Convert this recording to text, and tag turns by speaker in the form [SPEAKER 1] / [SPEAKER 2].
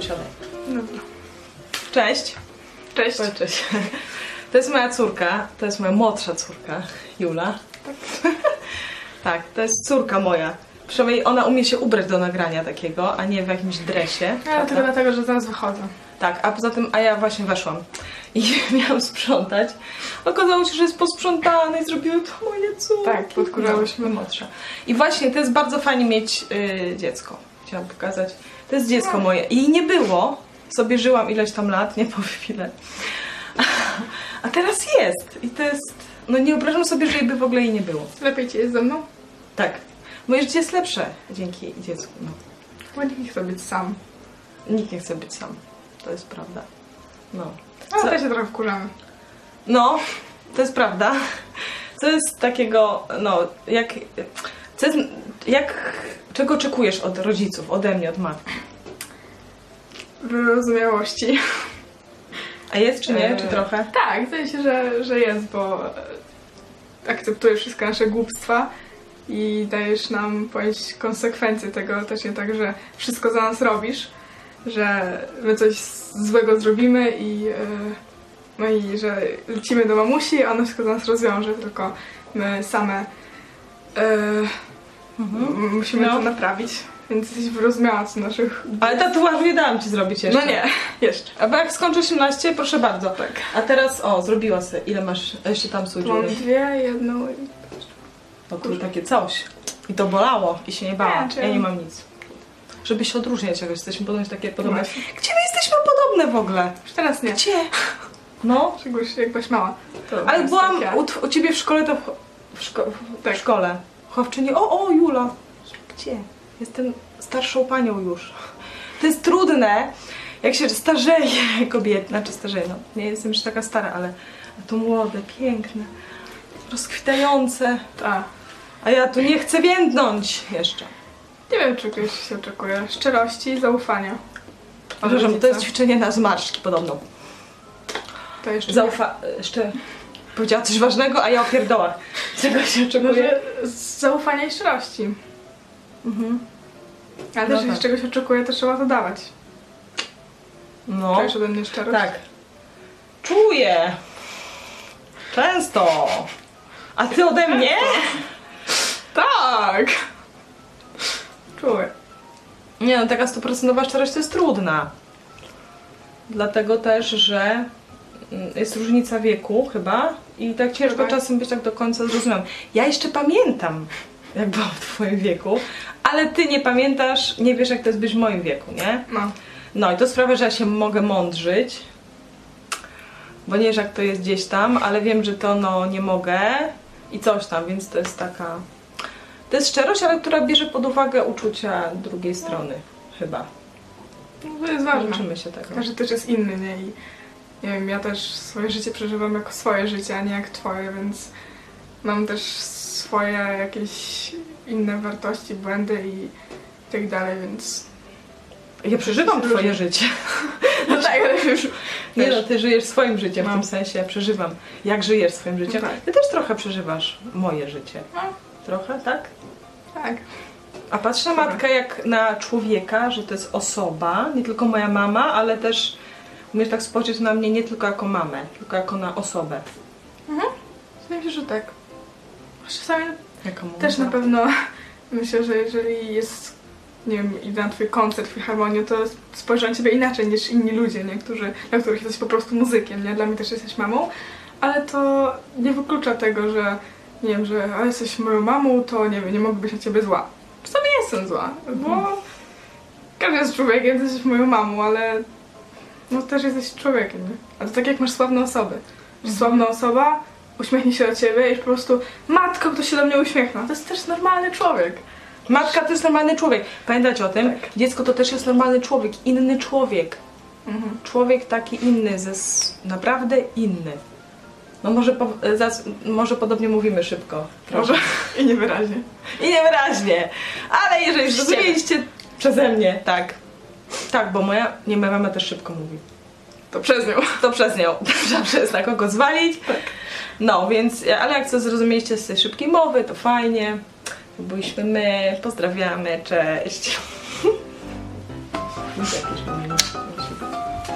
[SPEAKER 1] siadaj.
[SPEAKER 2] Dobra. Cześć. Cześć.
[SPEAKER 1] Powiedz Cześć. To jest moja córka, to jest moja młodsza córka, Jula. Tak, to jest córka moja. Przynajmniej ona umie się ubrać do nagrania takiego, a nie w jakimś dresie.
[SPEAKER 2] Ale
[SPEAKER 1] prawda?
[SPEAKER 2] tylko dlatego, że zaraz wychodzę.
[SPEAKER 1] Tak, a poza tym, a ja właśnie weszłam i miałam sprzątać. Okazało się, że jest posprzątane i zrobiły to moje córki.
[SPEAKER 2] Tak, podkurzałyśmy.
[SPEAKER 1] No, młodsza. I właśnie, to jest bardzo fajnie mieć y, dziecko. Chciałam pokazać. To jest dziecko moje. I nie było. Sobie żyłam ileś tam lat, nie powiem ile. A teraz jest. I to jest... No nie wyobrażam sobie, że jej by w ogóle jej nie było.
[SPEAKER 2] Lepiej ci jest ze mną?
[SPEAKER 1] Tak. Moje życie jest lepsze dzięki dziecku. No.
[SPEAKER 2] Bo nie chcę być sam.
[SPEAKER 1] Nikt nie chce być sam. To jest prawda. No.
[SPEAKER 2] Ale
[SPEAKER 1] Co-
[SPEAKER 2] też się trochę wkurzamy.
[SPEAKER 1] No, to jest prawda. Co jest takiego, no, jak, co jest, jak, czego oczekujesz od rodziców, ode mnie, od matki?
[SPEAKER 2] Wyrozumiałości.
[SPEAKER 1] A jest czy nie,
[SPEAKER 2] Eee.
[SPEAKER 1] czy trochę?
[SPEAKER 2] Tak, w sensie, że, że jest, bo e, akceptujesz wszystkie nasze głupstwa i dajesz nam pojąć konsekwencje tego. Też nie tak, że wszystko za nas robisz, że my coś złego zrobimy i, e, no i że lecimy do mamusi, a ona wszystko za nas rozwiąże, tylko my same e, m- musimy
[SPEAKER 1] No.
[SPEAKER 2] to naprawić. Więc jesteś wyrozumiała co naszych...
[SPEAKER 1] Ale tatuaż nie dałam ci zrobić jeszcze.
[SPEAKER 2] No nie, jeszcze.
[SPEAKER 1] A bo jak skończę 18, proszę bardzo. Tak. A teraz, o, zrobiła sobie, ile masz jeszcze tam
[SPEAKER 2] Mam
[SPEAKER 1] słodziury?
[SPEAKER 2] dwie, jedną i
[SPEAKER 1] No tu takie coś. I to bolało i się nie bałam.
[SPEAKER 2] Nie, czy-
[SPEAKER 1] Ja nie mam nic. Żeby się odróżniać jakoś, jesteśmy podobne takie podobne.
[SPEAKER 2] Właśnie.
[SPEAKER 1] Gdzie my jesteśmy podobne w ogóle?
[SPEAKER 2] Już teraz nie.
[SPEAKER 1] Gdzie? No.
[SPEAKER 2] Szczególnie jak byłaś mała. To
[SPEAKER 1] Ale
[SPEAKER 2] jest
[SPEAKER 1] byłam
[SPEAKER 2] takie-
[SPEAKER 1] u, tw- u ciebie w szkole, to w, cho- w, szko-
[SPEAKER 2] Tak.
[SPEAKER 1] w szkole. Chowczyni, o, o, Jula. Gdzie? Jestem starszą panią już. To jest trudne, jak się starzeje kobieta, znaczy starzeje, no nie jestem już taka stara, ale to młode, piękne, rozkwitające,
[SPEAKER 2] Ta.
[SPEAKER 1] a ja tu nie chcę więdnąć jeszcze.
[SPEAKER 2] Nie wiem, czy czegoś się oczekuje. Szczerości i zaufania. Od
[SPEAKER 1] Przepraszam, to
[SPEAKER 2] rodzica.
[SPEAKER 1] jest ćwiczenie na zmarszczki podobno.
[SPEAKER 2] To jeszcze...
[SPEAKER 1] Zaufa... e, jeszcze... Powiedziała coś ważnego, a ja o pierdołach. Czego się
[SPEAKER 2] No,
[SPEAKER 1] oczekuje?
[SPEAKER 2] że z- zaufania i szczerości.
[SPEAKER 1] Mhm. No
[SPEAKER 2] Ale też, jeśli
[SPEAKER 1] tak.
[SPEAKER 2] czegoś oczekuje, to trzeba to dawać.
[SPEAKER 1] No.
[SPEAKER 2] Czujesz ode mnie szczerość?
[SPEAKER 1] Tak. Czuję. Często. A ty ode mnie?
[SPEAKER 2] Tak! Czuję.
[SPEAKER 1] Nie no, taka stuprocentowa szczerość to jest trudna. Dlatego też, że mm, jest różnica wieku chyba i tak ciężko
[SPEAKER 2] Chyba.
[SPEAKER 1] czasem być tak do końca zrozumiałam. Ja jeszcze pamiętam, jak byłam w twoim wieku, ale ty nie pamiętasz, nie wiesz jak to jest być w moim wieku, nie?
[SPEAKER 2] No.
[SPEAKER 1] No i to sprawia, że ja się mogę mądrzyć, bo nie wiesz jak to jest gdzieś tam, ale wiem, że to no nie mogę i coś tam, więc to jest taka... To jest szczerość, ale która bierze pod uwagę uczucia drugiej strony, chyba.
[SPEAKER 2] No, To jest ważne.
[SPEAKER 1] Uczymy się tego.
[SPEAKER 2] Każdy też jest inny, nie? I nie wiem, ja też swoje życie przeżywam jako swoje życie, a nie jak twoje, więc mam też swoje jakieś inne wartości, błędy i tak dalej, więc...
[SPEAKER 1] Ja przeżywam
[SPEAKER 2] Różnie.
[SPEAKER 1] twoje życie.
[SPEAKER 2] No tak, ale już...
[SPEAKER 1] Nie
[SPEAKER 2] Też.
[SPEAKER 1] no, ty żyjesz swoim życiem, w
[SPEAKER 2] No.
[SPEAKER 1] tym sensie ja przeżywam. Jak żyjesz swoim życiem?
[SPEAKER 2] No tak.
[SPEAKER 1] Ty też trochę przeżywasz moje życie.
[SPEAKER 2] No.
[SPEAKER 1] Trochę, tak?
[SPEAKER 2] Tak.
[SPEAKER 1] A patrzę na
[SPEAKER 2] Dobra.
[SPEAKER 1] matkę jak na człowieka, że to jest osoba, nie tylko moja mama, ale też umiesz tak spojrzeć na mnie nie tylko jako mamę, tylko jako na osobę.
[SPEAKER 2] Wydaje mi się, że tak. Czasami
[SPEAKER 1] Jako mama.
[SPEAKER 2] też na pewno myślę, że jeżeli jest, nie wiem, idę na twój koncert, twój harmonię, to spojrzę na ciebie inaczej niż inni ludzie, nie? Którzy, dla których jesteś po prostu muzykiem, nie? Dla mnie też jesteś mamą, ale to nie wyklucza tego, że nie wiem, że a jesteś moją mamą, to nie wiem, nie mogę być na ciebie zła. Czasami jestem zła, bo każdy jest człowiekiem, ty jesteś moją mamą, ale no też jesteś człowiekiem, nie? A to tak jak masz sławne osoby. Że Sławna osoba uśmiechnie się do ciebie i po prostu matko, kto się do mnie uśmiechnął. To jest też normalny człowiek.
[SPEAKER 1] Matka to jest normalny człowiek. Pamiętać o tym,
[SPEAKER 2] Tak.
[SPEAKER 1] dziecko to też jest normalny człowiek, inny człowiek.
[SPEAKER 2] Mhm.
[SPEAKER 1] Człowiek taki inny, ze s- naprawdę inny. No może, po, zas, może podobnie mówimy szybko. Proszę.
[SPEAKER 2] Może i niewyraźnie.
[SPEAKER 1] I niewyraźnie. Ale jeżeli
[SPEAKER 2] Przez
[SPEAKER 1] zrozumieliście przeze mnie, tak. Tak, bo moja, nie, moja mama też szybko mówi.
[SPEAKER 2] To przez nią.
[SPEAKER 1] To przez nią. Zawsze jest na kogo zwalić.
[SPEAKER 2] Tak.
[SPEAKER 1] No, więc, ale jak co zrozumieliście z tej szybkiej mowy, to fajnie. To Byliśmy my, pozdrawiamy, cześć. jakieś pomimo.